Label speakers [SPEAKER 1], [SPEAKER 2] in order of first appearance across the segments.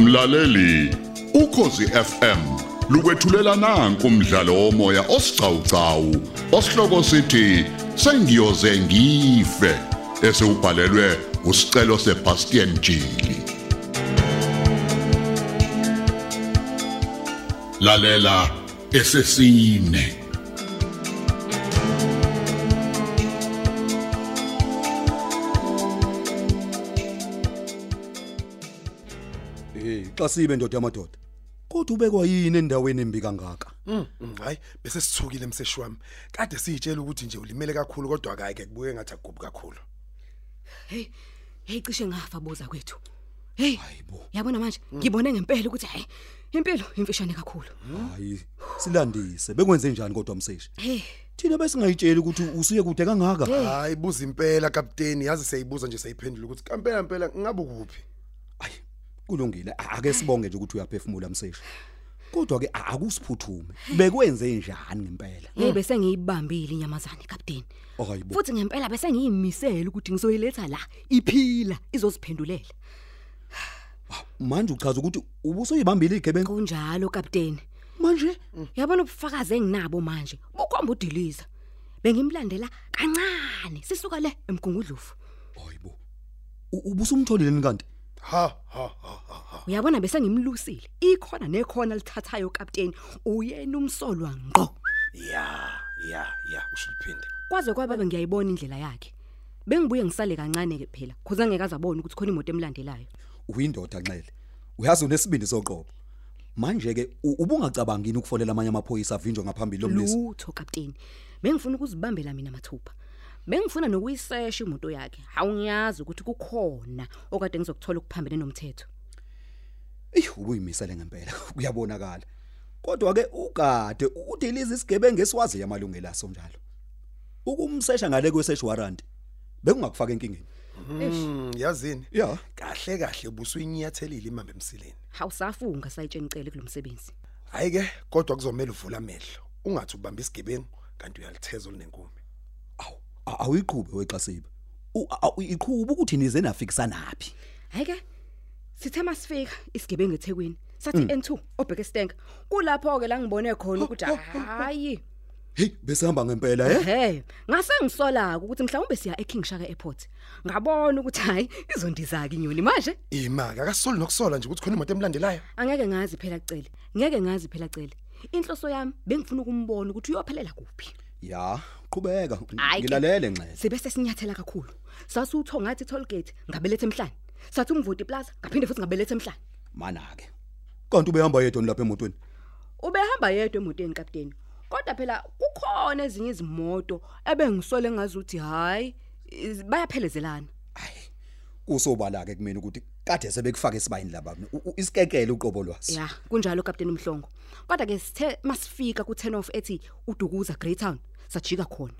[SPEAKER 1] Mlaleli, ukhosi FM lukwethulela nanku umdlalo womoya osiqhawqhawo osihloko sithi sengiyoze ngife esewubhalelwe usicelo seBastian Jili. Lalela esesine.
[SPEAKER 2] Eh, xa sibe ndoda yamadoda. Kodwa ubekwa yini endaweni embi kangaka?
[SPEAKER 3] Mm, mm, hayi bese sithukile mseshi wami. Kade siyitshela ukuthi nje ulimele kakhulu kodwa akayike kubuye ngathi agubu kakhulu.
[SPEAKER 4] hey hey cishe ngafa boza kwethu hey yabona manje ngibone ngempela ukuthi hayi impilo imfishane kakhulu
[SPEAKER 2] Hayi, silandise. Bekwenze njani kodwa mseshi?
[SPEAKER 4] hey
[SPEAKER 2] Thina besingayitsheli ukuthi usuye kude kangaka.
[SPEAKER 3] Hayi buza impela kapteni yazi siyayibuza nje sayiphendula ukuthi kampela impela ngabe kuphi?
[SPEAKER 2] Hayi, kulungile. A- Ake sibonge nje ukuthi uyaphefumula mseshi. Kodwa ke a- akusiphuthume. Bekwenze njani ngempela?
[SPEAKER 4] hey bese ngiyibambile inyamazane captain
[SPEAKER 2] Hayibo.
[SPEAKER 4] futhi ngempela bese ngiyimisela ukuthi ngizoyiletha la iphila izoziphendulela
[SPEAKER 2] Manje uchaza ukuthi ubusuyibambile igebengu.
[SPEAKER 4] kunjalo captain
[SPEAKER 2] Manje
[SPEAKER 4] yabona ubufakazi enginabo manje bukhomba udiliza bengimlandela kancane sisuka le emgungudlovu
[SPEAKER 2] hayibo. U- Ubusumtholile ni kanti?
[SPEAKER 3] Ha ha ha ha. ha.
[SPEAKER 4] uyabona bese ngimlusile ikhona nekhona lithathayo captain uyena umsolwa ngqo
[SPEAKER 3] Ya ya ya ushiliphinde.
[SPEAKER 4] kwaze kwabe ngiyayibona indlela yakhe bengibuye ngisale kancane ke phela khoza ngeke azabona ukuthi khona imoto emlandelayo
[SPEAKER 2] uyindoda nxele uyazi unesibindi soqobo manje ke u- ubungacabangini ukufolela amanye amaphoyisa avinjwe ngaphambili lomlisi
[SPEAKER 4] lutho captain bengifuna ukuzibambela mina mathupha bengifuna nokuyisesha imoto yakhe awungiyazi ukuthi kukhona okade ngizokuthola ukuphambene nomthetho
[SPEAKER 2] eyi ubuyimisele ngempela kuyabonakala kodwa ke ugade udelize isigebenge esiwazi yamalungelo aso njalo ukumsesha ngale kwesearch warrant bekungakufaka enkingeni
[SPEAKER 3] Mm, yazini.
[SPEAKER 2] ya
[SPEAKER 3] Kahle kahle busuyinyathelile imamba emsileni.
[SPEAKER 4] awusafunga sayitsheni cele kulomsebenzi
[SPEAKER 3] Hayi ke kodwa kuzomela uvula amehlo. Ungathi ubamba isigebengu kanti uyalithezo linenkume.
[SPEAKER 2] awu a- awuyiqhube weqasiba U- a- a- iqhube ukuthi nize nafikisa naphi
[SPEAKER 4] hayi ke sithe masifika isigebengu eThekwini sathi N2 obheke stenga kulapho ke la ngibone khona ukuthi hayi
[SPEAKER 2] hey bese hamba ngempela he
[SPEAKER 4] Ehhe, ngase ngisola ukuthi mhlawumbe siya eKing Shaka Airport. Ngabona ukuthi hayi izondizaka inyoni manje.
[SPEAKER 3] Imaka akasoli nokusola nje ukuthi khona imoto emlandelayo.
[SPEAKER 4] Angeke ngazi phela cele. Ngeke ngazi phela cele. Inhloso yami bengifuna ukumbona ukuthi uyophelela kuphi.
[SPEAKER 2] ya qhubeka
[SPEAKER 4] Hayi ke.
[SPEAKER 2] ngilalele nxele
[SPEAKER 4] Sibe sesinyathela kakhulu. Sasutho ngathi tollgate ngabelethe emhlanje. Sathi umvoti plaza ngaphinde futhi ngabelethe emhlanje.
[SPEAKER 2] mana ke kanti ubehamba yedwa lapha emotweni
[SPEAKER 4] Ubehamba yedwa emotweni kapteni. Kodwa phela kukhona ezinye izimoto ebengisole ngazuthi hayi iz- bayaphelezelana.
[SPEAKER 2] Hayi. Kusobala ke kumina ukuthi kade sebekufaka esibayini laba u- u- isikekele uqobo lwaso.
[SPEAKER 4] Ya, kunjalo Captain Mhlongo. Kodwa ke sithe masifika ku 10 off ethi uDukuza Greytown sajika khona.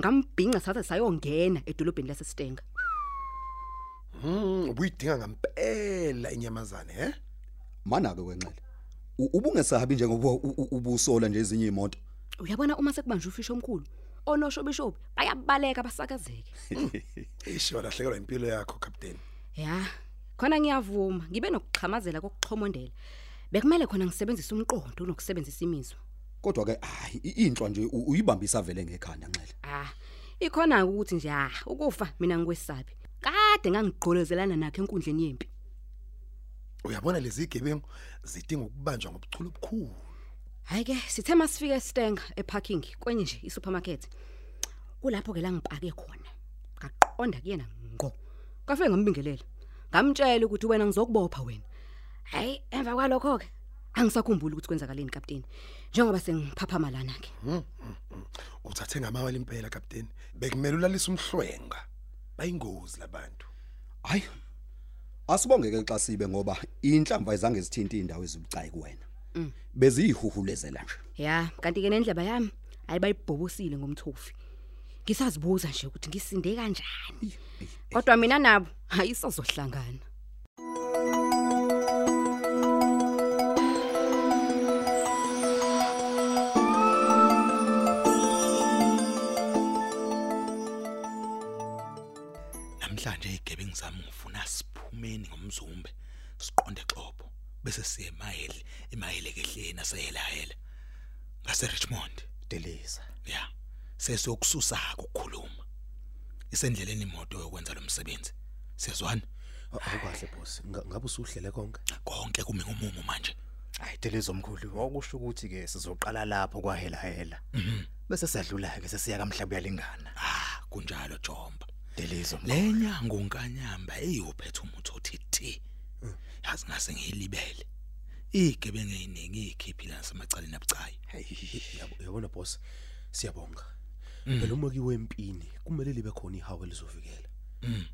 [SPEAKER 4] Ngambhinca sathe sayongena edolobheni laseStenga.
[SPEAKER 3] Mm, ubuyidinga ngempela inyamazane he?
[SPEAKER 2] Mana ke wenxele. U- Ubungesabi njengoba u- u- ubusola nje ezinye imoto.
[SPEAKER 4] Uyabona uma sekubanje ufisho omkhulu, onosho bishobi bayabaleka basakazeke.
[SPEAKER 3] Isho lahlekelwa impilo yakho captain.
[SPEAKER 4] Ya, khona ngiyavuma, ngibe nokuxhamazela kokuxhomondela. Bekumele khona ngisebenzise umqondo unokusebenzisa imizwa.
[SPEAKER 2] Kodwa ke hayi i- inhlwa nje u- uyibambisa vele ngekhanda nxele.
[SPEAKER 4] Ah, ikhona ukuthi nje ah, ukufa mina ngikwesabi. Kade ngangigqolozelana nakhe enkundleni yempi.
[SPEAKER 3] Uyabona lezi gebengu zidinga ukubanjwa ngobuchule obukhulu.
[SPEAKER 4] Hayi ke sithe masifika eStenga eparking kwenye nje isupermarket. Kulapho ke la ngipake khona. Ngaqonda kuyena ngo. Kafe ngambingelela. Ngamtshela ukuthi wena ngizokubopha wena. Hayi emva kwalokho ke angisakhumbuli ukuthi kwenzakaleni captain. Njengoba sengiphaphama lana ke.
[SPEAKER 3] Hmm, Uthathe ngamawala impela captain. Bekumele ulalise umhlwenga. Bayingozi labantu.
[SPEAKER 2] Hayi. Asibonge ke xa sibe ngoba inhlamba izange zithinta indawo ezibucayi kuwena. Beziyihuhulezela nje.
[SPEAKER 4] Ya, kanti ke nendleba yami hayi bayibhobosile ngomthofi. Ngisazibuza nje ukuthi ngisinde kanjani. Kodwa mina nabo hayi sozohlangana.
[SPEAKER 5] namhlanje igebengu zami ngifuna siphumeni ngomzumbe siqonde xopho bese siye emayeli emayeli kehlena sehela-hela ngase-richmond
[SPEAKER 2] Delisa.
[SPEAKER 5] ya sesiyokususa ukukhuluma isendleleni imoto yokwenza lo msebenzi siyazwana
[SPEAKER 6] awukahle boss nga- ngabe usuhlele konke
[SPEAKER 5] konke kumi ngomumo manje
[SPEAKER 6] hayi deleza omkhulu wakusho ukuthi ke sizoqala lapho kwahela hela
[SPEAKER 2] Mhm.
[SPEAKER 6] bese siyadlula ke sesiya kamhlaba uyalingana
[SPEAKER 5] ah kunjalo jomba
[SPEAKER 6] deleza
[SPEAKER 5] le nyango nkanyamba eyophetha umuthi othi thi yazi ngase ngiyilibele igebengu eziningi ikhiphi la semacaleni abucayi
[SPEAKER 6] yabona boss siyabonga
[SPEAKER 5] Mm.
[SPEAKER 6] phela uma kiwe empini kumele libe khona ihawu elizovikela
[SPEAKER 5] Mm,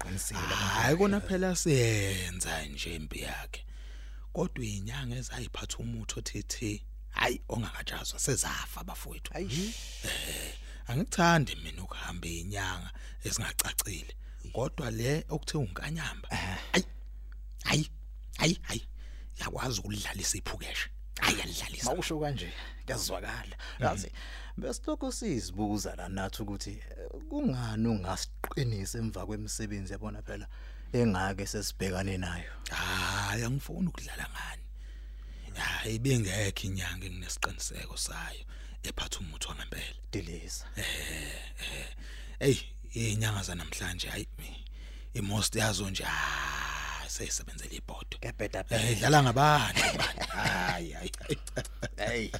[SPEAKER 6] qinisile
[SPEAKER 5] hayi kona phela siyenza nje impi yakhe kodwa inyanga ezayiphatha umuthi othi thi hayi ongakajazwa sezafa bafowethu angikuthandi mina ukuhamba inyanga ezingacacile kodwa le okuthe unkanyamba hayi hayi hayi hayi yakwazi ukulidlalisa iphukeshe hayi Mm. alidlalisa
[SPEAKER 6] mawusho kanje kuyazwakala yazi besilokhu sizibuza la nathi ukuthi eh, kungani ungasiqinisa emva kwemisebenzi yabona phela engake sesibhekane nayo
[SPEAKER 5] hayi angifuni ukudlala ngani hayi bengekho inyanga enginesiqiniseko sayo ephatha umuthi wangempela
[SPEAKER 6] delisa
[SPEAKER 5] eyi inyanga zanamhlanje hayi imost yazo nje ah, seyisebenzela ibhodo
[SPEAKER 6] kebheda
[SPEAKER 5] Eh, idlala ngabantu abantu hayi hayi
[SPEAKER 6] hey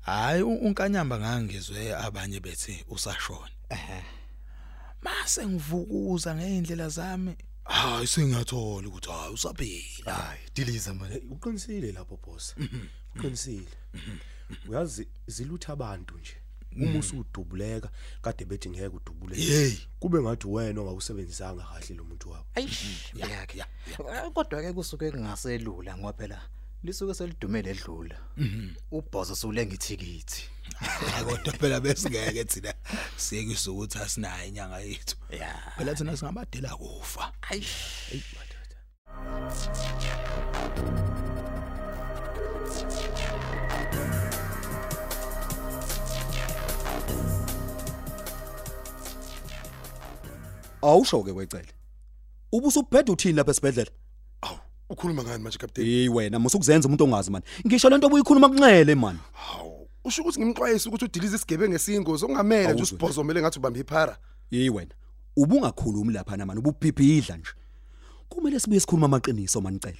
[SPEAKER 5] hayi u- unkanyamba ngangizwe abanye bethi usashona mase ngivukuza ngeindlela zami hayi sengathola ukuthi hayi usaphila
[SPEAKER 6] hayi delisa manje uqinisile lapho boss uqinisile uyazi zilutha abantu nje uma usudubuleka kade bethi ngeke udubuleke
[SPEAKER 5] Hey.
[SPEAKER 6] kube ngathi wena ongawusebenzisanga kahle lo muntu wabo
[SPEAKER 5] yakhe
[SPEAKER 6] kodwa ke kusuke kungaselula ngoba phela lisuke selidumele edlula
[SPEAKER 5] Mhm.
[SPEAKER 6] ubhozo sulenga ithikithi
[SPEAKER 5] Hayi, kodwa phela besingeke thina siyekise ukuthi asinayo inyanga yethu
[SPEAKER 6] ya
[SPEAKER 5] phela thina singamadela kufa
[SPEAKER 6] hey madoda
[SPEAKER 2] Awusho ke wecele. Ubusubhedda uthini lapha esibhedlela?
[SPEAKER 3] Aw, ukhuluma ngani manje captain?
[SPEAKER 2] Hey wena, musukuzenza umuntu ongazi man. Ngisho lento obuyikhuluma kunxele man.
[SPEAKER 3] Haw, usho ukuthi ngimxwayise ukuthi udilize isigebenge ngesingozi ongamela nje
[SPEAKER 2] Awuzwe.
[SPEAKER 3] usibhozomele ngathi ubambe iphara.
[SPEAKER 2] Hey wena, ubungakhulumi lapha na man, ububhibhidla nje. Kumele sibuye sikhuluma amaqiniso manicele.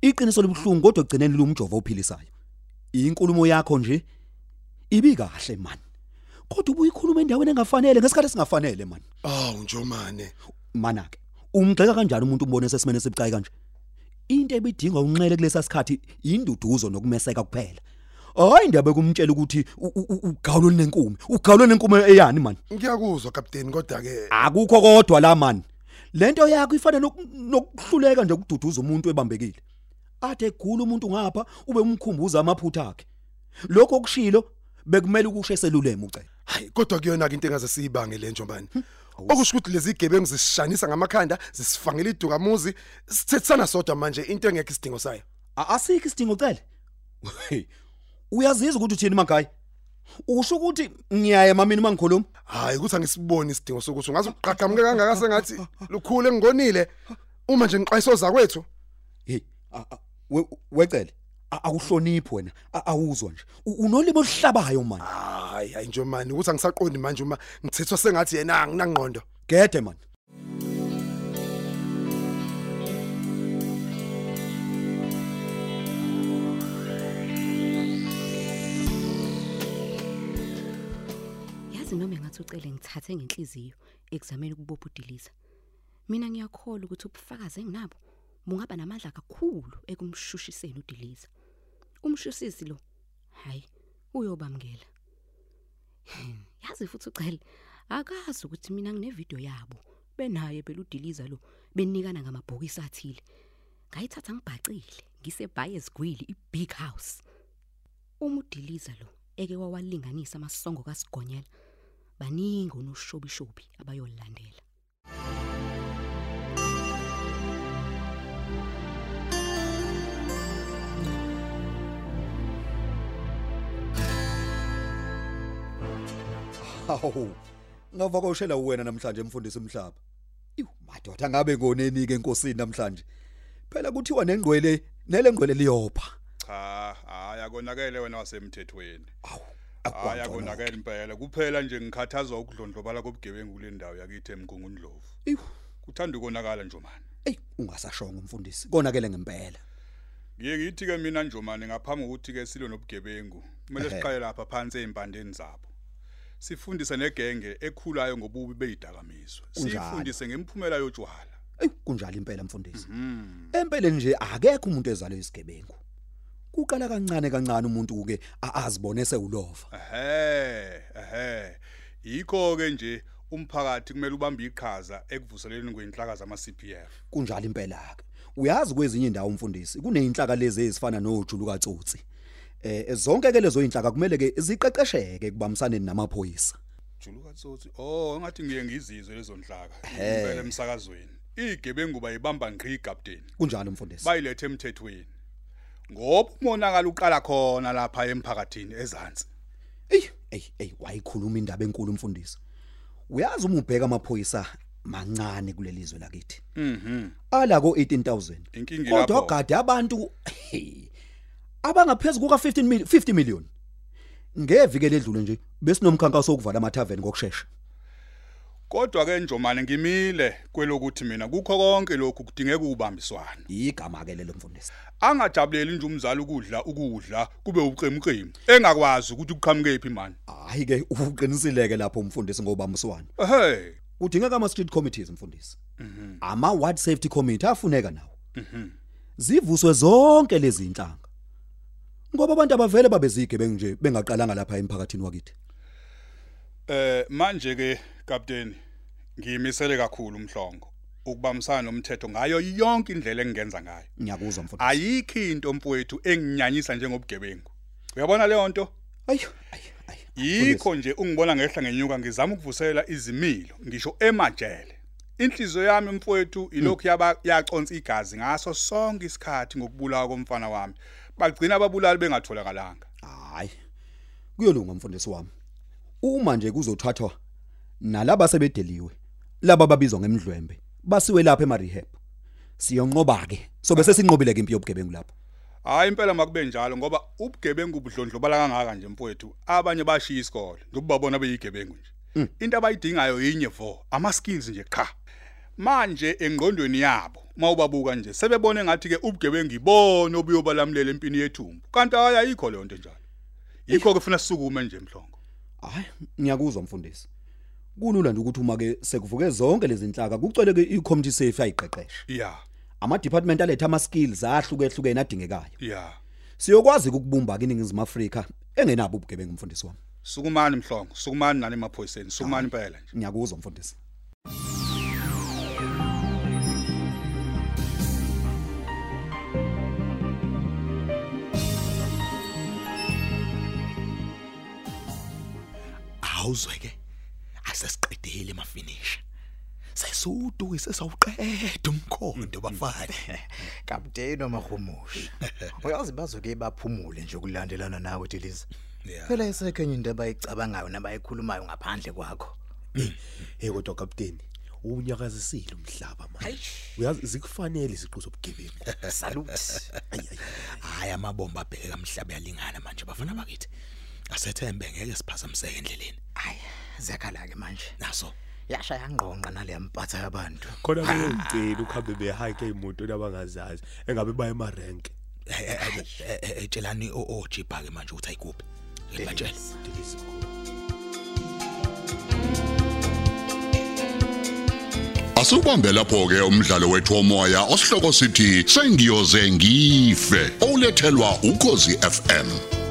[SPEAKER 2] Iqiniso libhlungu kodwa egcineni lumjovo ophilisayo. Inkulumo yakho nje ibi kahle man. Kodwa ubuyikhuluma endaweni engafanele ngesikhathi singafanele man.
[SPEAKER 3] Aw, njomane.
[SPEAKER 2] manake umgxeka kanjani umuntu umbone sesimene sibucayi kanje into ebidinga unxele kulesa sikhathi induduzo nokumeseka kuphela hayi ndabe kumtshela ukuthi u- u- u- ugawulo lenkume ugawulo lenkume eyani man
[SPEAKER 3] Ngiyakuzwa captain kodwa ke
[SPEAKER 2] akukho kodwa la man lento yakho ifana nok- nokuhluleka nje ukududuza umuntu ebambekile ade egula umuntu ngapha ube umkhumbuza amaphutha akhe lokho okushilo bekumele ukushe seluleme ucela
[SPEAKER 3] hayi kodwa kuyona ke into engaze siyibange le njomane. Okusho ukuthi lezi gebengu zisishanisa ngamakhanda, zisifangela iduka muzi, sithethisana sodwa manje into engekho isidingo sayo.
[SPEAKER 2] A- asikho isidingo cele Hey, uyazizwa ukuthi uthini magayi usho ukuthi ngiyayema mina mangikhuluma
[SPEAKER 3] Hayi ukuthi angisiboni isidingo sokuthi ungaze uqhaqhamuke kangaka sengathi lukhule ngonile. Uma nje ngiqwayiso zakwethu.
[SPEAKER 2] hey a- a- we- wecele A- awuhloniphi wena A- awuzwa nje U- unolimo oluhlabayo man
[SPEAKER 3] Hayi hayi njomane ukuthi angisaqondi manje uma ngithethwa sengathi yena nginangqondo.
[SPEAKER 2] gede man
[SPEAKER 4] yazi noma engathi ucele ngithathe ngenhliziyo ekuzameni ukubopha udiliza mina ngiyakholwa ukuthi ubufakazi enginabo bungaba namandla kakhulu ekumshushiseni udiliza umshusisi lo hayi uyobamkela Hmm, yazi futhi ucele akazi ukuthi mina nginevidiyo yabo benaye beludiliza lo benikana ngamabhokisi athile ngayithatha ngibhacile ngisebhayezigwili i-big house uma udiliza lo eke wawalinganisa amasongo kasigonyela baningi onoshobishobi abayolandela
[SPEAKER 2] hawu ngavakoshela wena namhlanje mfundisi mhlaba iwu madoda ngabe ngoneni ke enkosini namhlanje phela kuthiwa nengqwele nele ngqwele liyopha
[SPEAKER 7] cha hhayi akonakele Ah, wena wasemthethweni
[SPEAKER 2] Akukona
[SPEAKER 7] hayi akonakele impela kuphela nje ngikhathazwa ukudlondlobala kobugebengu kule ndawo yakithi emgungundlovu
[SPEAKER 2] Iwu.
[SPEAKER 7] kuthanda ukonakala njomani
[SPEAKER 2] eyi ungasashonga umfundisi konakele ngempela
[SPEAKER 7] ngiyithi ke mina njomani ngaphambi kokuthi ke silo nobugebengu kumele
[SPEAKER 2] Ehhe.
[SPEAKER 7] siqale lapha phansi empandeni zabo sifundise negenge ekhulayo ngobubi beyidakamizwa
[SPEAKER 2] Kunjalo.
[SPEAKER 7] siyifundise ngemphumela yotshwala
[SPEAKER 2] eyi kunjalo impela mfundisi empeleni nje akekho umuntu ezalwe isigebengu kuqala kancane kancane umuntu ke a- azibone sewulova
[SPEAKER 7] ehe ehe yikho ke nje umphakathi kumele ubambe iqhaza ekuvuseleleni kwenhlaka zama-CPF
[SPEAKER 2] kunjalo impela ke uyazi kwezinye indawo umfundisi kuneyinhlaka lezi ezifana noJulu kaTsotsi eh zonke ke lezo inhlaka kumele ke ziqeqesheke kubamsaneni namaphoyisa
[SPEAKER 7] Juluka Tsotsi. Oh, ngathi ngiye ngizizwe lezo nhlaka. Impela emsakazweni. Igebengu bayibamba ngqi captain.
[SPEAKER 2] kunjalo mfundisi
[SPEAKER 7] Bayilethe emthethweni. Ngoba umonakala uqala khona lapha emphakathini ezantsi.
[SPEAKER 2] Ey, ey, ey, wayikhuluma indaba enkulu umfundisi. Uyazi uma ubheka amaphoyisa mancane kulelizwe lakithi.
[SPEAKER 7] Mhm.
[SPEAKER 2] Ala ko 18000.
[SPEAKER 7] Inkinga
[SPEAKER 2] Kodwa
[SPEAKER 7] lapho.
[SPEAKER 2] ogade abantu hey, abangaphezulu kuka 15 million, 50 million. Ngevikele edlule nje besinomkhankaso wokuvala ama tavern ngokusheshsha.
[SPEAKER 7] Kodwa ke njomane ngimile kwelokuthi mina kukho konke lokhu kudingeka ubambiswano.
[SPEAKER 2] Igama ke lelo mfundisi.
[SPEAKER 7] Angajabuleli nje umzali ukudla ukudla kube uqemqemqi. Engakwazi ukuthi uqhamuke phi manje.
[SPEAKER 2] Hayi ke uqinisileke ke lapho umfundisi ngobamswana.
[SPEAKER 7] Ehhe.
[SPEAKER 2] Kudingeka ama street committees mfundisi. Ama ward safety committee afuneka nawo. Zivuswe zonke lezi inhlanga. Ngoba abantu abavele babezigebengu nje bengaqalanga lapha emphakathini wakithi.
[SPEAKER 7] Eh manje ke captain ngiyimisele kakhulu umhlongo ukubambisana nomthetho ngayo yonke indlela engingenza ngayo.
[SPEAKER 2] Ngiyakuzwa mfuthu.
[SPEAKER 7] Ayikho into mfowethu enginyanyisa njengobugebengu. Uyabona le nto?
[SPEAKER 2] Ayo, ayo, ayo.
[SPEAKER 7] Yikho nje ungibona ngehla ngenyuka ngizama ukuvuselela izimilo ngisho emajele. Inhliziyo yami mfowethu ilokhu yaba yaconsa igazi ngaso sonke isikhathi ngokubulawa komfana wami. Bagcina ababulali bengatholakalanga.
[SPEAKER 2] Hayi. Kuyolunga mfundisi wami. Uma nje kuzothathwa nalaba sebedeliwe, laba babizwa ngemdlwembe, basiwe lapha ema rehab. Siyonqoba ke. So bese sinqobile ke impi yobugebengu lapho.
[SPEAKER 7] Hayi impela makube njalo ngoba ubugebengu budlondlobala kangaka nje mfowethu abanye bashiya isikole ngokubabona beyigebengu nje into abayidingayo yinye vo ama skills nje qha manje engqondweni yabo mawubabuka nje sebebone ngathi ke ubugebengu ibona obuyobalamulela empini yethumbu kanti hayi ayikho leyo nto njalo yikho ke funa sisukume nje mhlongo
[SPEAKER 2] Hayi, ngiyakuzwa mfundisi. Kulula nje ukuthi uma ke sekuvuke zonke lezi inhlaka kucwele ke i-community safe ayiqeqesha.
[SPEAKER 7] ya
[SPEAKER 2] Ama department aletha ama skills ahlukehlukene adingekayo.
[SPEAKER 7] ya
[SPEAKER 2] Siyokwazi ukubumba ke iningizimu Afrika engenabo ubugebengu mfundisi wami.
[SPEAKER 7] sukumani mhlongo sukumani nani emaphoyiseni sukumani impela nje
[SPEAKER 2] Ngiyakuzwa mfundisi.
[SPEAKER 5] awuzwe ke asesiqedile emafinisha sesuduke sesawuqeda umkhondo bafana
[SPEAKER 6] Mhm. kapteni omahumushi uyazi bazoke baphumule nje ukulandelana nawe deliza
[SPEAKER 5] Yeah.
[SPEAKER 6] phela isekhenye into abayicabangayo nabayikhulumayo ngaphandle kwakho
[SPEAKER 8] hey kodwa kapteni unyakazisile umhlaba manje uyazi zikufanele iziqu zobugebengu
[SPEAKER 6] salute
[SPEAKER 5] hayi amabomba abheke amhlaba yalingana manje
[SPEAKER 6] Mm.
[SPEAKER 5] bafana bakithi asethembe ngeke siphazamiseke endleleni
[SPEAKER 6] ayi ziyakhala ke manje
[SPEAKER 5] naso
[SPEAKER 6] yashaya ngqonqa nale mpatha yabantu
[SPEAKER 8] khona ke ngicela ukuhambe behike imoto labangazazi engabe baye emarenke
[SPEAKER 5] Eh, eh, eh, eh, eh, eh, tshelani ojibha ke manje ukuthi ayikuphi ngibatshele
[SPEAKER 1] Asubambe lapho ke umdlalo wethu womoya osihloko sithi sengiyoze ngife olethelwa ukhozi FM